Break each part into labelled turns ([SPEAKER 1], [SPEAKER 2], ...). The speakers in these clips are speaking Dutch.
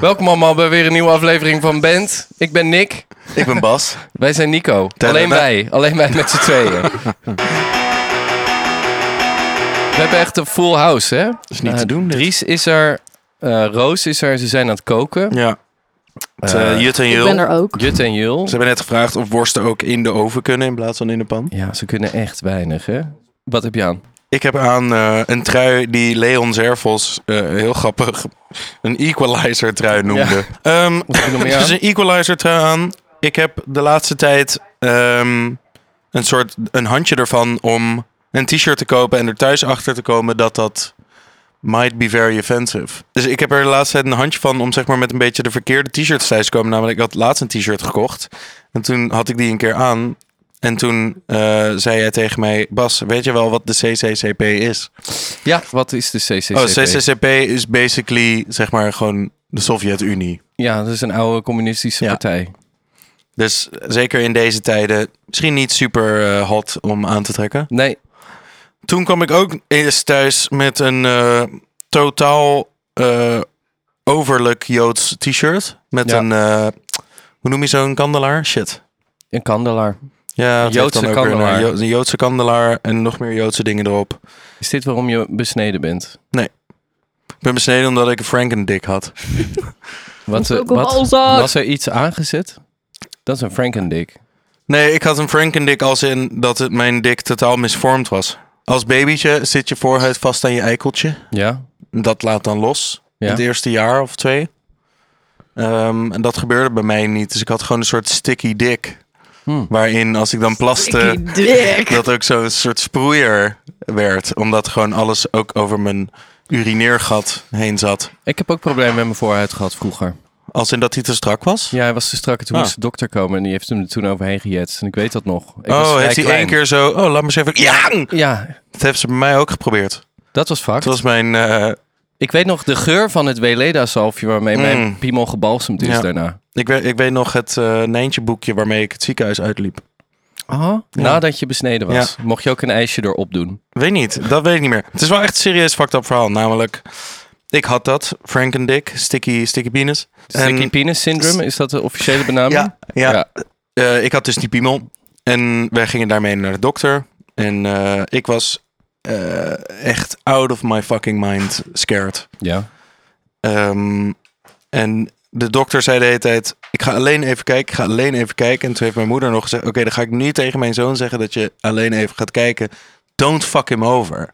[SPEAKER 1] Welkom allemaal bij weer een nieuwe aflevering van Band. Ik ben Nick.
[SPEAKER 2] Ik ben Bas.
[SPEAKER 1] Wij zijn Nico. Alleen wij. Alleen wij met z'n tweeën. We hebben echt een full house, hè? Dat
[SPEAKER 2] is niet
[SPEAKER 3] Eh,
[SPEAKER 2] te doen, dit.
[SPEAKER 1] Dries is er. eh, Roos is er. Ze zijn aan het koken.
[SPEAKER 2] Ja. Het, eh,
[SPEAKER 1] Eh,
[SPEAKER 2] Jut en
[SPEAKER 3] Ik
[SPEAKER 2] Jul.
[SPEAKER 3] ben er ook.
[SPEAKER 1] Jut en Jul.
[SPEAKER 2] Ze hebben net gevraagd of worsten ook in de oven kunnen in plaats van in de pan.
[SPEAKER 1] Ja, ze kunnen echt weinig, hè? Wat heb je aan?
[SPEAKER 2] Ik heb aan eh, een trui die Leon Zervos eh, heel grappig een equalizer trui noemde. Ehm
[SPEAKER 1] Wat heb je nog meer
[SPEAKER 2] er is
[SPEAKER 1] aan?
[SPEAKER 2] een equalizer trui aan. Ik heb de laatste tijd ehm, een soort een handje ervan om een t-shirt te kopen en er thuis achter te komen dat dat might be very offensive. Dus ik heb er de laatste tijd een handje van om zeg maar met een beetje de verkeerde t-shirts thuis te komen. Namelijk ik had laatst een t-shirt gekocht en toen had ik die een keer aan. En toen eh, zei hij tegen mij, Bas, weet je wel wat de CCCP is?
[SPEAKER 1] Ja, wat is de CCCP?
[SPEAKER 2] Oh, CCCP is basically zeg maar gewoon de Sovjet-Unie.
[SPEAKER 1] Ja, dat is een oude communistische
[SPEAKER 2] Ja.
[SPEAKER 1] partij.
[SPEAKER 2] Dus zeker in deze tijden misschien niet super eh, hot om aan te trekken.
[SPEAKER 1] Nee,
[SPEAKER 2] Toen kwam ik ook eens thuis met een eh, totaal eh, overlijk Joods t-shirt. Met
[SPEAKER 1] Ja.
[SPEAKER 2] een, eh, hoe noem je zo'n kandelaar? Shit.
[SPEAKER 1] een kandelaar.
[SPEAKER 2] Ja, dat heeft
[SPEAKER 1] Joodse
[SPEAKER 2] dan ook weer een,
[SPEAKER 1] kandelaar.
[SPEAKER 2] Jo- een Joodse kandelaar en nog meer Joodse dingen erop.
[SPEAKER 1] Is dit waarom je besneden bent?
[SPEAKER 2] Ik ben besneden omdat ik een Frankendik had.
[SPEAKER 1] Wat,
[SPEAKER 3] Ook
[SPEAKER 1] eh,
[SPEAKER 3] op
[SPEAKER 1] wat,
[SPEAKER 3] Alzaak.
[SPEAKER 1] was er iets aangezet? Dat is een Frankendick.
[SPEAKER 2] Nee, ik had een Frankendik als in dat het, mijn dik totaal misvormd was. Als babytje zit je voorhuid vast aan je eikeltje.
[SPEAKER 1] Ja?
[SPEAKER 2] Dat laat dan los.
[SPEAKER 1] Ja.
[SPEAKER 2] Het eerste jaar of twee. Ehm, en dat gebeurde bij mij niet. Dus ik had gewoon een soort sticky dick.
[SPEAKER 1] Hmm.
[SPEAKER 2] Waarin als ik dan plaste,
[SPEAKER 3] Sticky dick.
[SPEAKER 2] dat ook zo'n soort sproeier werd. Omdat gewoon alles ook over mijn urineergat heen zat.
[SPEAKER 1] Ik heb ook problemen met mijn voorhuid gehad vroeger.
[SPEAKER 2] Als in dat hij te strak was.
[SPEAKER 1] Ja, hij was te strak en toen
[SPEAKER 2] Ah.
[SPEAKER 1] moest de dokter komen en die heeft hem er toen overheen gejetst. En ik weet dat nog. Ik was
[SPEAKER 2] oh,
[SPEAKER 1] vrij
[SPEAKER 2] heeft hij
[SPEAKER 1] klein.
[SPEAKER 2] één keer zo... Oh, laat me eens even... Ja!
[SPEAKER 1] Ja,
[SPEAKER 2] Dat heeft ze bij mij ook geprobeerd.
[SPEAKER 1] dat was vaak.
[SPEAKER 2] Het was mijn... eh,
[SPEAKER 1] Ik weet nog de geur van het Weleda-zalfje waarmee
[SPEAKER 2] Mm.
[SPEAKER 1] mijn piemel gebalsemd is
[SPEAKER 2] Ja.
[SPEAKER 1] daarna.
[SPEAKER 2] ik, weet, ik weet nog het eh Nijntje boekje waarmee ik het ziekenhuis uitliep.
[SPEAKER 1] Oh, Nadat je besneden was, mocht je ook een ijsje erop doen.
[SPEAKER 2] Weet niet, dat weet ik niet meer. Het is wel echt een serieus fucked up verhaal. Namelijk, ik had dat, Frank en Dick, Sticky, sticky Penis.
[SPEAKER 1] Sticky
[SPEAKER 2] En-
[SPEAKER 1] penis syndrome, is dat de officiële benaming?
[SPEAKER 2] Ja, ja.
[SPEAKER 1] Ja.
[SPEAKER 2] Eh, ik had dus die piemel. En wij gingen daarmee naar de dokter. En eh, ik was eh, echt out of my fucking mind scared.
[SPEAKER 1] Ja.
[SPEAKER 2] Ehm, en de dokter zei de hele tijd: Ik ga alleen even kijken, ik ga alleen even kijken. En toen heeft mijn moeder nog gezegd: Oké, dan ga ik nu tegen mijn zoon zeggen dat je alleen even gaat kijken. Don't fuck him over.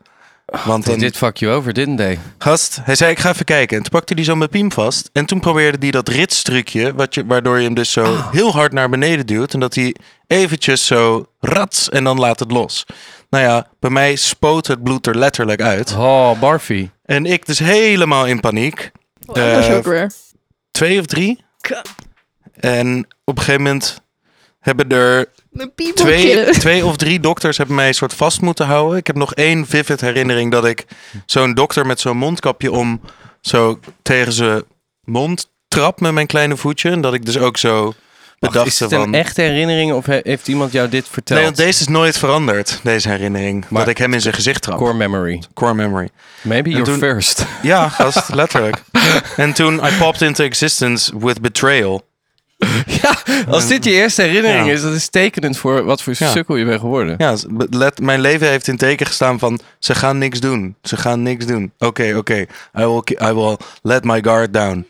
[SPEAKER 2] Want dan,
[SPEAKER 1] Dit fuck you over, didn't they?
[SPEAKER 2] Gast, hij zei ik ga even kijken. En toen pakte hij zo mijn piem vast. En toen probeerde hij dat ritstrucje, wat je, waardoor je hem dus zo heel hard naar beneden duwt. En dat hij eventjes zo rats en dan laat het los. Nou ja, bij mij spoot het bloed er letterlijk uit.
[SPEAKER 1] Oh, Barfie.
[SPEAKER 2] En ik dus helemaal in paniek.
[SPEAKER 3] Oh, dat is
[SPEAKER 2] Eh,
[SPEAKER 3] ook weer.
[SPEAKER 2] Twee of drie. En op een gegeven moment hebben er
[SPEAKER 3] Mijn
[SPEAKER 2] twee,
[SPEAKER 3] piepeltje.
[SPEAKER 2] twee of drie dokters hebben mij een soort vast moeten houden. Ik heb nog één vivid herinnering dat ik zo'n dokter met zo'n mondkapje om zo tegen zijn mond trap met mijn kleine voetje. En dat ik dus ook zo
[SPEAKER 1] Wacht,
[SPEAKER 2] bedacht
[SPEAKER 1] is het
[SPEAKER 2] van...
[SPEAKER 1] een echte herinnering of he- heeft iemand jou dit verteld?
[SPEAKER 2] Nee, want deze is nooit veranderd, deze herinnering.
[SPEAKER 1] Maar-
[SPEAKER 2] dat ik hem in zijn gezicht trap.
[SPEAKER 1] Core memory.
[SPEAKER 2] Core memory.
[SPEAKER 1] Maybe
[SPEAKER 2] En
[SPEAKER 1] your
[SPEAKER 2] toen-
[SPEAKER 1] first.
[SPEAKER 2] Ja, gast, letterlijk. en toen I popped into existence with betrayal.
[SPEAKER 1] ja, als dit je eerste herinnering
[SPEAKER 2] Ja.
[SPEAKER 1] is, dat is tekenend voor wat voor
[SPEAKER 2] Ja.
[SPEAKER 1] sukkel je bent geworden.
[SPEAKER 2] Ja, let, mijn leven heeft in teken gestaan van ze gaan niks doen. Ze gaan niks doen. Oké, oké. I, will, ki- I will let my guard down.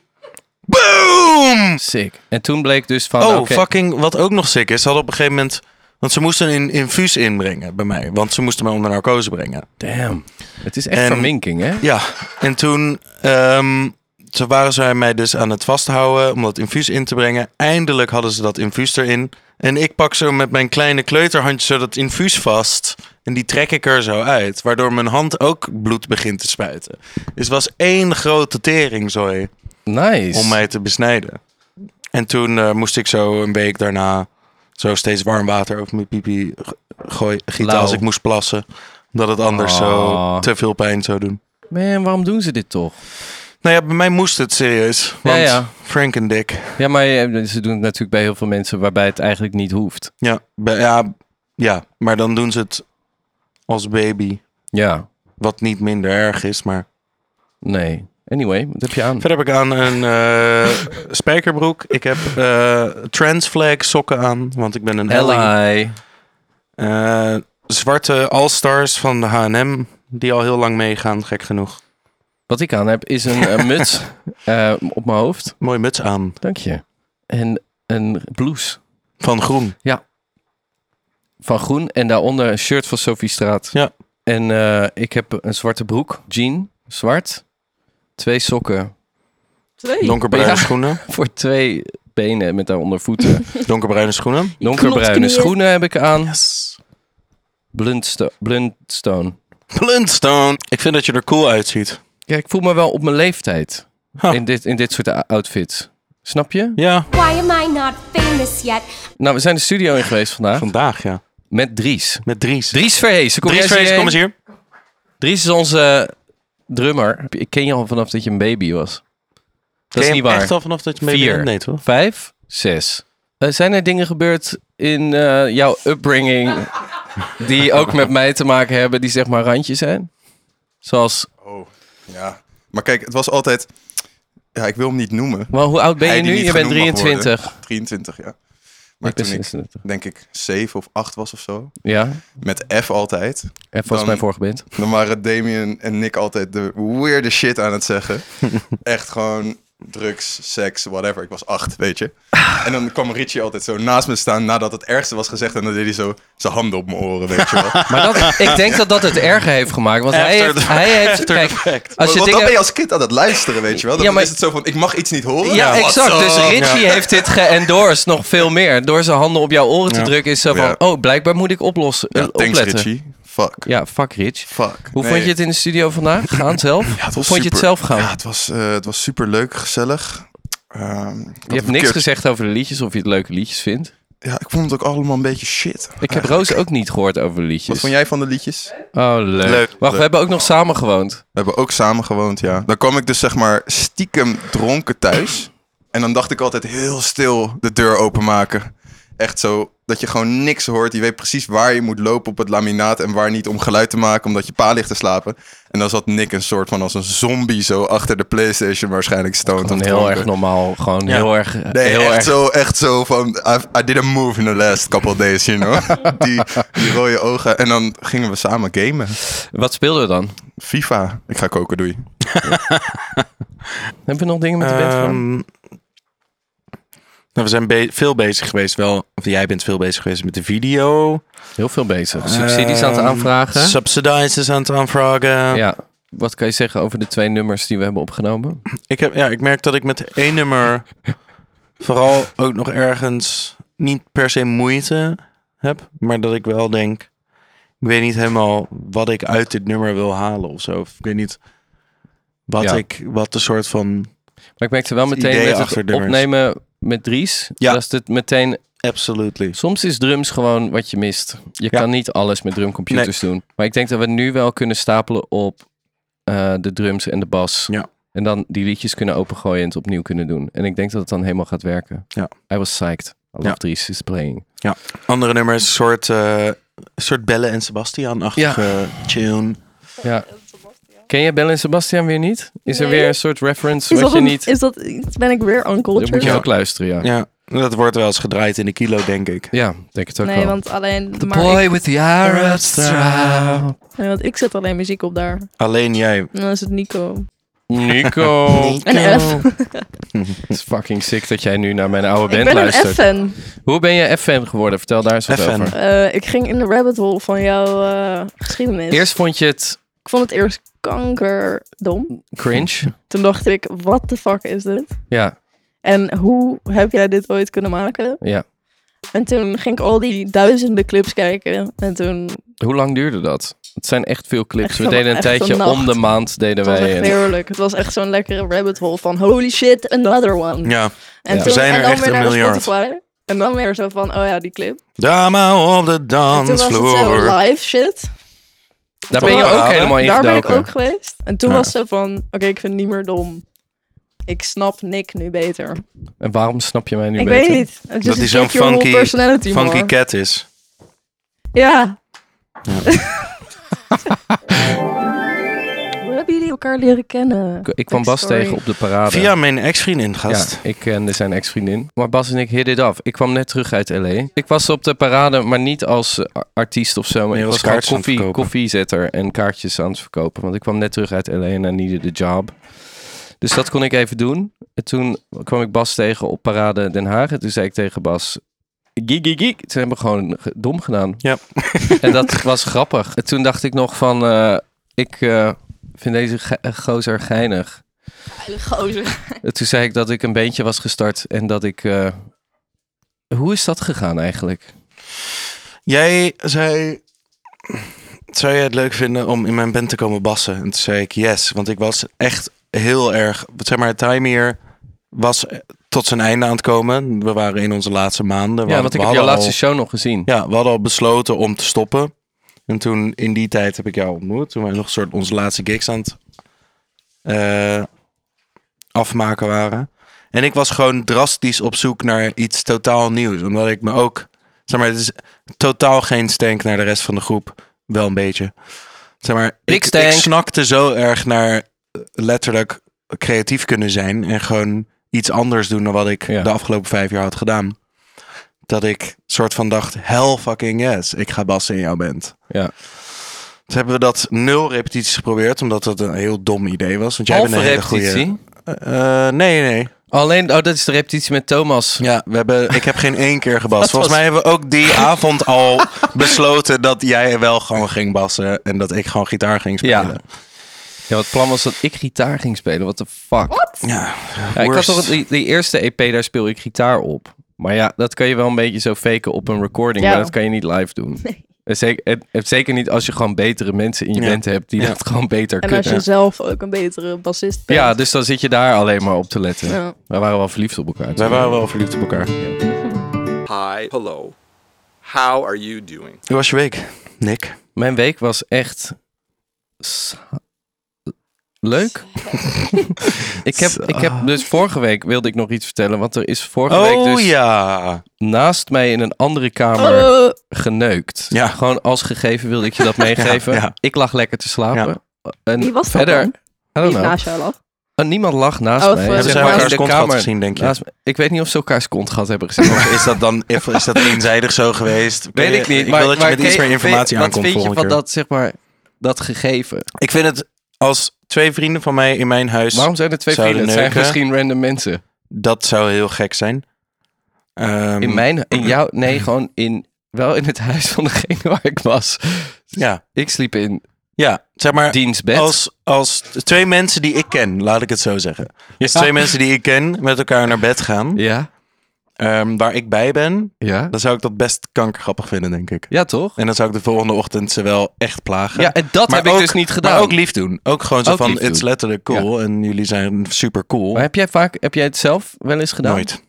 [SPEAKER 2] Boom!
[SPEAKER 1] Sick. En toen bleek dus van,
[SPEAKER 2] Oh,
[SPEAKER 1] oké,
[SPEAKER 2] fucking, wat ook nog sick is, ze hadden op een gegeven moment... Want ze moesten een infuus inbrengen bij mij. Want ze moesten mij onder narcose brengen.
[SPEAKER 1] damn. Het is echt
[SPEAKER 2] En-
[SPEAKER 1] verminking, hè?
[SPEAKER 2] Ja, en toen ehm, ze waren zij mij dus aan het vasthouden om dat infuus in te brengen. Eindelijk hadden ze dat infuus erin. En ik pak zo met mijn kleine kleuterhandje zo dat infuus vast. En die trek ik er zo uit. Waardoor mijn hand ook bloed begint te spuiten. Dus het was één grote teringzooi
[SPEAKER 1] Nice.
[SPEAKER 2] om mij te besnijden. En toen eh, moest ik zo een week daarna zo steeds warm water over mijn pipi g- gooi, gieten
[SPEAKER 1] Lauw.
[SPEAKER 2] als ik moest plassen. Omdat het anders
[SPEAKER 1] Ah.
[SPEAKER 2] zo te veel pijn zou doen.
[SPEAKER 1] Man, waarom doen ze dit toch?
[SPEAKER 2] Nou ja, bij mij moest het serieus. Want
[SPEAKER 1] Ja, ja.
[SPEAKER 2] Frank en Dick.
[SPEAKER 1] Ja, maar eh, ze doen het natuurlijk bij heel veel mensen waarbij het eigenlijk niet hoeft.
[SPEAKER 2] Ja, be- ja, ja, maar dan doen ze het als baby.
[SPEAKER 1] Ja,
[SPEAKER 2] Wat niet minder erg is, maar
[SPEAKER 1] nee. Anyway, wat heb je aan?
[SPEAKER 2] Verder heb ik aan een eh, spijkerbroek. Ik heb eh transflag sokken aan, want ik ben een helling.
[SPEAKER 1] Ally.
[SPEAKER 2] Eh, zwarte All-Stars van de H&M, die al heel lang meegaan, gek genoeg.
[SPEAKER 1] Wat ik aan heb is een eh, muts eh, op mijn hoofd.
[SPEAKER 2] Mooie muts aan,
[SPEAKER 1] Dank je. En een blouse
[SPEAKER 2] van groen.
[SPEAKER 1] van groen. En daaronder een shirt van Sophie Straat.
[SPEAKER 2] Ja.
[SPEAKER 1] En eh, ik heb een zwarte broek, jean, zwart. Twee sokken
[SPEAKER 3] Twee.
[SPEAKER 2] Donkerbruine
[SPEAKER 1] Ja.
[SPEAKER 2] schoenen.
[SPEAKER 1] voor twee benen met daaronder voeten.
[SPEAKER 2] Donkerbruine schoenen.
[SPEAKER 3] Je
[SPEAKER 1] Donkerbruine
[SPEAKER 3] knotknieën.
[SPEAKER 1] schoenen heb ik aan. Blundsto- Blundstone.
[SPEAKER 2] Blundstone. Ik vind dat je er cool uitziet.
[SPEAKER 1] Ja, ik voel me wel op mijn leeftijd
[SPEAKER 2] Ha.
[SPEAKER 1] in, dit, in dit soort a- outfits. Snap je?
[SPEAKER 2] Ja,
[SPEAKER 4] Why am I not famous yet?
[SPEAKER 1] Nou, we zijn de studio in geweest vandaag
[SPEAKER 2] vandaag ja.
[SPEAKER 1] met Dries.
[SPEAKER 2] Met Dries.
[SPEAKER 1] Dries Verhees, kom
[SPEAKER 2] Dries
[SPEAKER 1] jij eens
[SPEAKER 2] Vrees, kom
[SPEAKER 1] hierheen?
[SPEAKER 2] eens hier.
[SPEAKER 1] Dries is onze eh, drummer. Ik ken je al vanaf dat je een baby was. Dat is
[SPEAKER 2] Ken je
[SPEAKER 1] niet
[SPEAKER 2] hem
[SPEAKER 1] waar.
[SPEAKER 2] Echt al vanaf dat je mee
[SPEAKER 1] Vier,
[SPEAKER 2] bent? Nee, toch?
[SPEAKER 1] vijf, zes. Eh, zijn er dingen gebeurd in eh, jouw upbringing die ook met mij te maken hebben, die zeg maar randje zijn? Zoals,
[SPEAKER 5] Oh, ja. Maar kijk, het was altijd... Ja, ik wil hem niet noemen.
[SPEAKER 1] wel, hoe oud ben je
[SPEAKER 5] Hij die
[SPEAKER 1] nu?
[SPEAKER 5] niet
[SPEAKER 1] Je bent
[SPEAKER 5] genoemd mag
[SPEAKER 1] 23.
[SPEAKER 5] 23, ja. Maar
[SPEAKER 1] Ik ben
[SPEAKER 5] toen ik,
[SPEAKER 1] 26.
[SPEAKER 5] denk ik, 7 of 8 was of zo,
[SPEAKER 1] Ja,
[SPEAKER 5] met F altijd,
[SPEAKER 1] en volgens
[SPEAKER 5] Dan-
[SPEAKER 1] mij vorige band.
[SPEAKER 5] dan waren Damien en Nick altijd de weirde shit aan het zeggen. Echt gewoon drugs, seks, whatever. Ik was 8, weet je. En dan kwam Richie altijd zo naast me staan nadat het ergste was gezegd. En dan deed hij zo zijn handen op mijn oren, weet je wel.
[SPEAKER 1] Maar dat, ik denk dat dat het erger heeft gemaakt. Want hij
[SPEAKER 2] After
[SPEAKER 1] heeft,
[SPEAKER 2] the-
[SPEAKER 1] hij heeft
[SPEAKER 2] after the
[SPEAKER 1] kijk, als je
[SPEAKER 2] fact.
[SPEAKER 5] Want dan ben
[SPEAKER 1] dingen...
[SPEAKER 5] je als kind aan het luisteren, weet je wel. Dan
[SPEAKER 1] Ja, maar-
[SPEAKER 5] is het zo van, ik mag iets niet horen.
[SPEAKER 1] Ja,
[SPEAKER 5] What's
[SPEAKER 1] exact. Dus
[SPEAKER 5] up?
[SPEAKER 1] Richie heeft dit geëndorsed nog veel meer. Door zijn handen op jouw oren te drukken is zo van...
[SPEAKER 5] Ja.
[SPEAKER 1] Oh, blijkbaar moet ik oplossen, eh,
[SPEAKER 5] Ja, thanks
[SPEAKER 1] opletten.
[SPEAKER 5] Richie. Fuck.
[SPEAKER 1] Ja, fuck Rich.
[SPEAKER 5] Fuck.
[SPEAKER 1] Hoe
[SPEAKER 5] Nee.
[SPEAKER 1] vond je het nou? in de studio vandaag? Gaan zelf?
[SPEAKER 5] Ja, het
[SPEAKER 1] Hoe
[SPEAKER 5] was
[SPEAKER 1] vond je het
[SPEAKER 5] super.
[SPEAKER 1] zelf gaan?
[SPEAKER 5] Ja, het was, eh, het was super leuk, gezellig. Ehm, ik had
[SPEAKER 1] je hebt
[SPEAKER 5] een
[SPEAKER 1] niks
[SPEAKER 5] keer-
[SPEAKER 1] gezegd over de liedjes, of je het leuke liedjes vindt.
[SPEAKER 5] Ja, ik vond het ook allemaal een beetje shit.
[SPEAKER 1] Ik heb Roos ook niet gehoord over de liedjes.
[SPEAKER 5] Wat vond jij van de liedjes?
[SPEAKER 1] Oh, leuk.
[SPEAKER 5] Leuk,
[SPEAKER 1] Wacht, we
[SPEAKER 5] leuk.
[SPEAKER 1] hebben ook nog samen gewoond.
[SPEAKER 5] We hebben ook samen gewoond, ja. Dan kwam ik dus zeg maar stiekem dronken thuis. En dan dacht ik altijd heel stil de deur openmaken. Echt zo dat je gewoon niks hoort. Je weet precies waar je moet lopen op het laminaat en waar niet om geluid te maken omdat je pa ligt te slapen. En dan zat Nick een soort van als een zombie zo achter de PlayStation waarschijnlijk stoned.
[SPEAKER 1] Gewoon
[SPEAKER 5] of
[SPEAKER 1] heel
[SPEAKER 5] dronken.
[SPEAKER 1] erg normaal. Gewoon
[SPEAKER 2] Ja.
[SPEAKER 1] heel erg...
[SPEAKER 5] Nee,
[SPEAKER 1] heel
[SPEAKER 5] echt,
[SPEAKER 1] erg...
[SPEAKER 5] Zo, echt zo van, I've- I did a move in the last couple of days, you know. die, die rode ogen. En dan gingen we samen gamen.
[SPEAKER 1] Wat speelden we dan?
[SPEAKER 5] FIFA. Ik ga koken, doei.
[SPEAKER 1] Hebben we nog dingen met de band gedaan?
[SPEAKER 2] Ehm, nou, we zijn be- veel bezig geweest, wel. Of jij bent veel bezig geweest met de video.
[SPEAKER 1] Heel veel bezig. Subsidies aan het
[SPEAKER 2] Ehm,
[SPEAKER 1] aanvragen.
[SPEAKER 2] Subsidizes aan het aanvragen.
[SPEAKER 1] ja. Wat kan je zeggen over de twee nummers die we hebben opgenomen?
[SPEAKER 2] Ik, heb, ja, ik merk dat ik met één nummer vooral ook nog ergens niet per se moeite heb. Maar dat ik wel denk, ik weet niet helemaal wat ik uit dit nummer wil halen of zo. Of ik weet niet wat,
[SPEAKER 1] Ja.
[SPEAKER 2] ik, wat de soort van
[SPEAKER 1] Maar ik merkte wel
[SPEAKER 2] Het
[SPEAKER 1] meteen
[SPEAKER 2] idee
[SPEAKER 1] met
[SPEAKER 2] achter
[SPEAKER 1] het
[SPEAKER 2] nummers.
[SPEAKER 1] opnemen met Dries.
[SPEAKER 2] Ja.
[SPEAKER 1] Dat is het meteen
[SPEAKER 2] absolutely.
[SPEAKER 1] Soms is drums gewoon wat je mist. Je
[SPEAKER 2] Ja.
[SPEAKER 1] kan niet alles met drumcomputers doen. Maar ik denk dat we nu wel kunnen stapelen op eh, de drums en de bas.
[SPEAKER 2] Ja.
[SPEAKER 1] En dan die liedjes kunnen opengooien en het opnieuw kunnen doen. En ik denk dat het dan helemaal gaat werken.
[SPEAKER 2] Ja.
[SPEAKER 1] I was psyched. I love
[SPEAKER 2] Ja.
[SPEAKER 1] Dries is playing.
[SPEAKER 2] Andere nummer is een soort, eh, een soort Belle en Sebastian-achtige tune.
[SPEAKER 1] Ja. Ken je Bel en Sebastian weer niet? Is er
[SPEAKER 3] Nee.
[SPEAKER 1] weer een soort reference
[SPEAKER 3] Is
[SPEAKER 1] wat
[SPEAKER 3] dat,
[SPEAKER 1] je
[SPEAKER 3] een,
[SPEAKER 1] niet...
[SPEAKER 3] is dat iets? Ben ik weer
[SPEAKER 1] Dan moet
[SPEAKER 3] uncultured?
[SPEAKER 1] je
[SPEAKER 2] Ja.
[SPEAKER 1] ook luisteren, ja. Ja,
[SPEAKER 2] Ja, dat wordt wel eens gedraaid in de kilo, denk ik.
[SPEAKER 1] denk het ook
[SPEAKER 3] Nee,
[SPEAKER 1] wel.
[SPEAKER 3] want alleen.
[SPEAKER 1] The
[SPEAKER 3] maar
[SPEAKER 1] boy
[SPEAKER 3] ik,
[SPEAKER 1] with the Arab strap.
[SPEAKER 3] nee, want ik zet alleen muziek op daar.
[SPEAKER 2] Alleen jij.
[SPEAKER 3] En dan is het Nico.
[SPEAKER 1] Nico.
[SPEAKER 3] Een F.
[SPEAKER 1] Het is fucking sick dat jij nu naar mijn oude
[SPEAKER 3] Ik
[SPEAKER 1] band
[SPEAKER 3] ben een
[SPEAKER 1] luistert.
[SPEAKER 3] F-fan.
[SPEAKER 1] Hoe ben je F-fan geworden? Vertel daar eens wat
[SPEAKER 2] F-fan.
[SPEAKER 1] over.
[SPEAKER 3] Eh, ik ging in de rabbit hole van jouw eh, geschiedenis.
[SPEAKER 1] Eerst vond je het
[SPEAKER 3] Ik vond het eerst kankerdom.
[SPEAKER 1] cringe.
[SPEAKER 3] Toen dacht ik, wat de fuck is dit?
[SPEAKER 1] Ja,
[SPEAKER 3] En hoe heb jij dit ooit kunnen maken?
[SPEAKER 1] ja.
[SPEAKER 3] En toen ging ik al die duizenden clips kijken. En toen
[SPEAKER 1] Hoe lang duurde dat? Het zijn echt veel clips.
[SPEAKER 3] Echt
[SPEAKER 1] we
[SPEAKER 3] een-
[SPEAKER 1] deden een
[SPEAKER 3] echt een
[SPEAKER 1] tijdje
[SPEAKER 3] nacht.
[SPEAKER 1] om de maand deden
[SPEAKER 3] het was
[SPEAKER 1] wij.
[SPEAKER 3] echt
[SPEAKER 1] een-
[SPEAKER 3] heerlijk. Het was echt zo'n lekkere rabbit hole van holy shit, another one.
[SPEAKER 2] Ja.
[SPEAKER 1] Ja.
[SPEAKER 3] En toen
[SPEAKER 2] Er zijn
[SPEAKER 3] en
[SPEAKER 2] er
[SPEAKER 3] dan
[SPEAKER 2] echt
[SPEAKER 3] weer
[SPEAKER 2] een
[SPEAKER 3] naar de
[SPEAKER 2] miljard.
[SPEAKER 3] Spotify. En dan weer zo van, oh ja, die clip.
[SPEAKER 2] Drama op de
[SPEAKER 3] En toen was het
[SPEAKER 2] dansvloer.
[SPEAKER 3] zo live shit.
[SPEAKER 1] Daar ben je
[SPEAKER 2] Top.
[SPEAKER 1] ook helemaal in
[SPEAKER 3] Daar ben ik
[SPEAKER 1] gedoken.
[SPEAKER 3] ook geweest. En toen
[SPEAKER 1] Ja.
[SPEAKER 3] was ze van, oké, ik vind het niet meer dom. Ik snap Nick nu beter.
[SPEAKER 1] En waarom snap je mij nu
[SPEAKER 3] Dus ik
[SPEAKER 1] beter?
[SPEAKER 3] weet niet. Het
[SPEAKER 2] Dat
[SPEAKER 3] is
[SPEAKER 2] hij
[SPEAKER 3] een
[SPEAKER 2] zo'n funky-
[SPEAKER 3] personality
[SPEAKER 2] Funky
[SPEAKER 3] more.
[SPEAKER 2] Cat is.
[SPEAKER 3] Ja. What? hebben jullie elkaar leren kennen?
[SPEAKER 1] Ik- Ik kwam Bas
[SPEAKER 3] Backstory.
[SPEAKER 1] tegen op de parade.
[SPEAKER 2] Via mijn ex-vriendin,
[SPEAKER 1] ja,
[SPEAKER 2] gast.
[SPEAKER 1] ik kende zijn ex-vriendin. Maar Bas en ik hit it af. Ik kwam net terug uit L.A. Ik was op de parade, maar niet als eh, a- artiest of zo. Maar
[SPEAKER 2] Nee,
[SPEAKER 1] ik
[SPEAKER 2] als
[SPEAKER 1] was gewoon
[SPEAKER 2] kaartjes aan het
[SPEAKER 1] koffie,
[SPEAKER 2] verkopen.
[SPEAKER 1] koffiezetter en kaartjes aan het verkopen. Want ik kwam net terug uit L.A. en I needed the job. Dus dat kon ik even doen. En toen kwam ik Bas tegen op parade Den Haag. En toen zei ik tegen Bas... Geek, geek, geek. Toen hebben we gewoon ge- dom gedaan.
[SPEAKER 2] Ja.
[SPEAKER 1] En dat was grappig. En toen dacht ik nog van... eh, ik eh, vind deze ge- gozer geinig.
[SPEAKER 3] Gozer.
[SPEAKER 1] En Eh, Toen zei ik dat ik een beentje was gestart en dat ik. eh, hoe is dat gegaan eigenlijk?
[SPEAKER 2] Jij zei... Zou jij het leuk vinden om in mijn band te komen bassen? En toen zei ik yes, want ik was echt heel erg... Zeg maar, het time hier was tot zijn einde aan het komen. We waren in onze laatste maanden. We
[SPEAKER 1] ja,
[SPEAKER 2] hadden-
[SPEAKER 1] want ik
[SPEAKER 2] we
[SPEAKER 1] heb jouw
[SPEAKER 2] hadden
[SPEAKER 1] laatste
[SPEAKER 2] al-
[SPEAKER 1] show nog gezien.
[SPEAKER 2] Ja, we hadden al besloten om te stoppen. En toen, in die tijd, heb ik jou ontmoet. Toen wij nog een soort onze laatste gigs aan het eh, afmaken waren. En ik was gewoon drastisch op zoek naar iets totaal nieuws. Omdat ik me ook... Zeg maar, het is totaal geen stank naar de rest van de groep. Wel een beetje. Zeg maar,
[SPEAKER 1] Big
[SPEAKER 2] ik,
[SPEAKER 1] stank.
[SPEAKER 2] ik snakte zo erg naar eh, letterlijk creatief kunnen zijn. En gewoon iets anders doen dan wat ik
[SPEAKER 1] Ja.
[SPEAKER 2] de afgelopen vijf jaar had gedaan. Dat ik soort van dacht, hell fucking yes, ik ga bassen in jouw band.
[SPEAKER 1] Ja.
[SPEAKER 2] Toen hebben we dat nul repetities geprobeerd, omdat dat een heel dom idee was. Want jij
[SPEAKER 1] Halve
[SPEAKER 2] bent een hele
[SPEAKER 1] repetitie.
[SPEAKER 2] goede... nee, nee.
[SPEAKER 1] Alleen, oh, dat is de repetitie met Thomas.
[SPEAKER 2] Ja, we hebben, ik heb geen één keer gebast.
[SPEAKER 1] Dat
[SPEAKER 2] Volgens
[SPEAKER 1] was-
[SPEAKER 2] mij hebben we ook die avond al besloten dat jij wel gewoon ging bassen. En dat ik gewoon gitaar ging
[SPEAKER 1] Ja.
[SPEAKER 2] spelen.
[SPEAKER 1] Ja, het plan was dat ik gitaar ging spelen. What the fuck?
[SPEAKER 2] Ja,
[SPEAKER 1] Ja, ik had
[SPEAKER 2] worst.
[SPEAKER 1] toch die, die eerste EP, daar speel ik gitaar op. Maar ja, dat kan je wel een beetje zo faken op een recording.
[SPEAKER 3] Ja.
[SPEAKER 1] Maar dat kan je niet live doen.
[SPEAKER 3] Nee.
[SPEAKER 1] En zeker, en- en zeker niet als je gewoon betere mensen in je
[SPEAKER 2] Ja.
[SPEAKER 1] band hebt die
[SPEAKER 2] Ja.
[SPEAKER 1] dat gewoon beter
[SPEAKER 3] En als
[SPEAKER 1] kunnen.
[SPEAKER 3] je zelf ook een betere bassist bent.
[SPEAKER 1] Ja, dus dan zit je daar alleen maar op te letten.
[SPEAKER 3] Ja.
[SPEAKER 1] Wij waren wel verliefd op elkaar.
[SPEAKER 2] Wij waren wel verliefd op elkaar.
[SPEAKER 6] Hi, hello. How are you doing?
[SPEAKER 2] Hoe was je week, Nick?
[SPEAKER 1] Mijn week was echt s- leuk. ik, heb, ik heb dus vorige week wilde ik nog iets vertellen, want er is vorige week
[SPEAKER 2] Oh
[SPEAKER 1] dus
[SPEAKER 2] ja. Oh.
[SPEAKER 1] naast mij in een andere kamer
[SPEAKER 3] Eh,
[SPEAKER 1] geneukt.
[SPEAKER 2] Ja.
[SPEAKER 1] Gewoon als gegeven wilde ik je dat meegeven.
[SPEAKER 2] Ja, ja.
[SPEAKER 1] Ik lag lekker te slapen. En
[SPEAKER 3] Wie was dat
[SPEAKER 1] verder, nou.
[SPEAKER 3] dan?
[SPEAKER 1] I don't
[SPEAKER 3] Niet
[SPEAKER 1] know.
[SPEAKER 3] naast jou lag.
[SPEAKER 1] Oh, niemand lag naast
[SPEAKER 3] Oh,
[SPEAKER 1] mij. Zeg
[SPEAKER 3] voor-
[SPEAKER 2] Hebben ze
[SPEAKER 1] maar in
[SPEAKER 2] elkaars
[SPEAKER 1] de
[SPEAKER 2] kont
[SPEAKER 1] kamer
[SPEAKER 2] gezien, denk je?
[SPEAKER 1] naast mij. Ik weet niet of ze elkaars kont gehad hebben gezien.
[SPEAKER 2] Of is dat dan of is dat eenzijdig zo geweest?
[SPEAKER 1] Weet ik niet.
[SPEAKER 2] Ik
[SPEAKER 1] maar,
[SPEAKER 2] wil dat je
[SPEAKER 1] maar
[SPEAKER 2] met
[SPEAKER 1] ken
[SPEAKER 2] iets meer
[SPEAKER 1] vind-
[SPEAKER 2] informatie aankomt
[SPEAKER 1] Wat vind je
[SPEAKER 2] volgende
[SPEAKER 1] van
[SPEAKER 2] keer.
[SPEAKER 1] dat, zeg maar, dat gegeven?
[SPEAKER 2] Ik vind het als twee vrienden van mij in mijn huis,
[SPEAKER 1] Waarom zijn er twee
[SPEAKER 2] Zouden
[SPEAKER 1] vrienden? Het zijn
[SPEAKER 2] neuken?
[SPEAKER 1] misschien random mensen.
[SPEAKER 2] dat zou heel gek zijn. Ehm,
[SPEAKER 1] In mijn, in jou, nee, gewoon in, wel in het huis van degene waar ik was.
[SPEAKER 2] Ja,
[SPEAKER 1] Ik sliep in
[SPEAKER 2] ja. Zeg maar
[SPEAKER 1] diens bed.
[SPEAKER 2] als, als twee mensen die ik ken, laat ik het zo zeggen. Als twee mensen die ik ken met elkaar naar bed gaan,
[SPEAKER 1] Ja,
[SPEAKER 2] ehm, waar ik bij ben,
[SPEAKER 1] ja.
[SPEAKER 2] dan zou ik dat best kankergrappig vinden, denk ik.
[SPEAKER 1] Ja, toch?
[SPEAKER 2] En dan zou ik de volgende ochtend ze wel echt plagen.
[SPEAKER 1] Ja, en dat
[SPEAKER 2] Maar
[SPEAKER 1] heb ik
[SPEAKER 2] ook-
[SPEAKER 1] dus niet gedaan.
[SPEAKER 2] Maar ook lief doen. Ook gewoon zo
[SPEAKER 1] Ook
[SPEAKER 2] van,
[SPEAKER 1] lief doen.
[SPEAKER 2] it's letterlijk cool. En jullie zijn super cool.
[SPEAKER 1] Maar heb jij vaak, heb jij het zelf wel eens gedaan?
[SPEAKER 2] Nooit.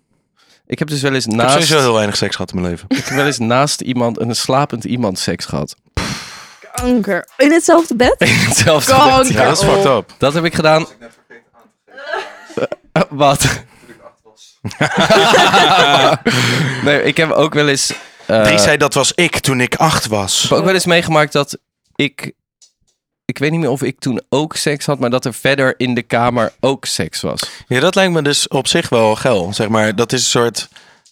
[SPEAKER 1] Ik heb dus wel eens
[SPEAKER 2] Ik heb
[SPEAKER 1] naast, Eh,
[SPEAKER 2] sowieso heel weinig seks gehad in mijn leven.
[SPEAKER 1] ik heb wel eens naast iemand, een slapend iemand seks gehad.
[SPEAKER 3] Anker. In hetzelfde bed?
[SPEAKER 1] Hetzelfde.
[SPEAKER 3] Kanker.
[SPEAKER 2] Ja, dat is fucked up.
[SPEAKER 1] Dat heb ik gedaan. Eh, Wat? nee, ik heb ook wel eens. eh,
[SPEAKER 2] Dries zei dat was ik toen ik acht was.
[SPEAKER 1] Ik heb ook wel eens meegemaakt dat ik. Ik weet niet meer of ik toen ook seks had, maar dat er verder in de kamer ook seks was.
[SPEAKER 2] Ja, dat lijkt me dus op zich wel geil. Zeg maar, dat is een soort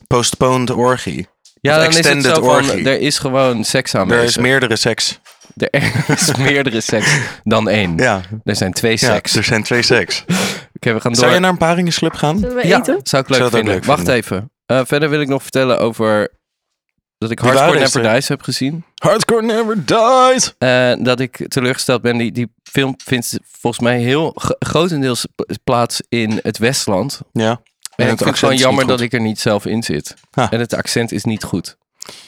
[SPEAKER 2] postponed orgie.
[SPEAKER 1] Ja,
[SPEAKER 2] Of
[SPEAKER 1] dan is het
[SPEAKER 2] extended
[SPEAKER 1] zo van,
[SPEAKER 2] orgy.
[SPEAKER 1] er is gewoon seks
[SPEAKER 2] Er
[SPEAKER 1] aanwezig.
[SPEAKER 2] is meerdere seks.
[SPEAKER 1] er is meerdere seks dan één.
[SPEAKER 2] Ja,
[SPEAKER 1] Er zijn twee
[SPEAKER 2] ja
[SPEAKER 1] seks.
[SPEAKER 2] er zijn twee seks.
[SPEAKER 1] Oké, we gaan door.
[SPEAKER 2] Zou je naar een paringsclub gaan?
[SPEAKER 3] Zullen we
[SPEAKER 1] ja,
[SPEAKER 3] eten?
[SPEAKER 1] zou ik leuk
[SPEAKER 2] Zou dat ook
[SPEAKER 1] vinden.
[SPEAKER 2] leuk
[SPEAKER 1] Wacht
[SPEAKER 2] vinden.
[SPEAKER 1] even. Eh, verder wil ik nog vertellen over dat ik
[SPEAKER 2] Wie
[SPEAKER 1] Hardcore
[SPEAKER 2] waren deze?
[SPEAKER 1] Never Dies heb gezien.
[SPEAKER 2] Hardcore never dies!
[SPEAKER 1] Eh, dat ik teleurgesteld ben. Die, die film vindt volgens mij heel gro- grotendeels p- plaats in het Westland.
[SPEAKER 2] Ja.
[SPEAKER 1] En, ik vind het
[SPEAKER 2] het accent
[SPEAKER 1] gewoon
[SPEAKER 2] is
[SPEAKER 1] jammer
[SPEAKER 2] niet
[SPEAKER 1] dat
[SPEAKER 2] goed.
[SPEAKER 1] ik er niet zelf in zit.
[SPEAKER 2] Ah.
[SPEAKER 1] En het accent is niet goed.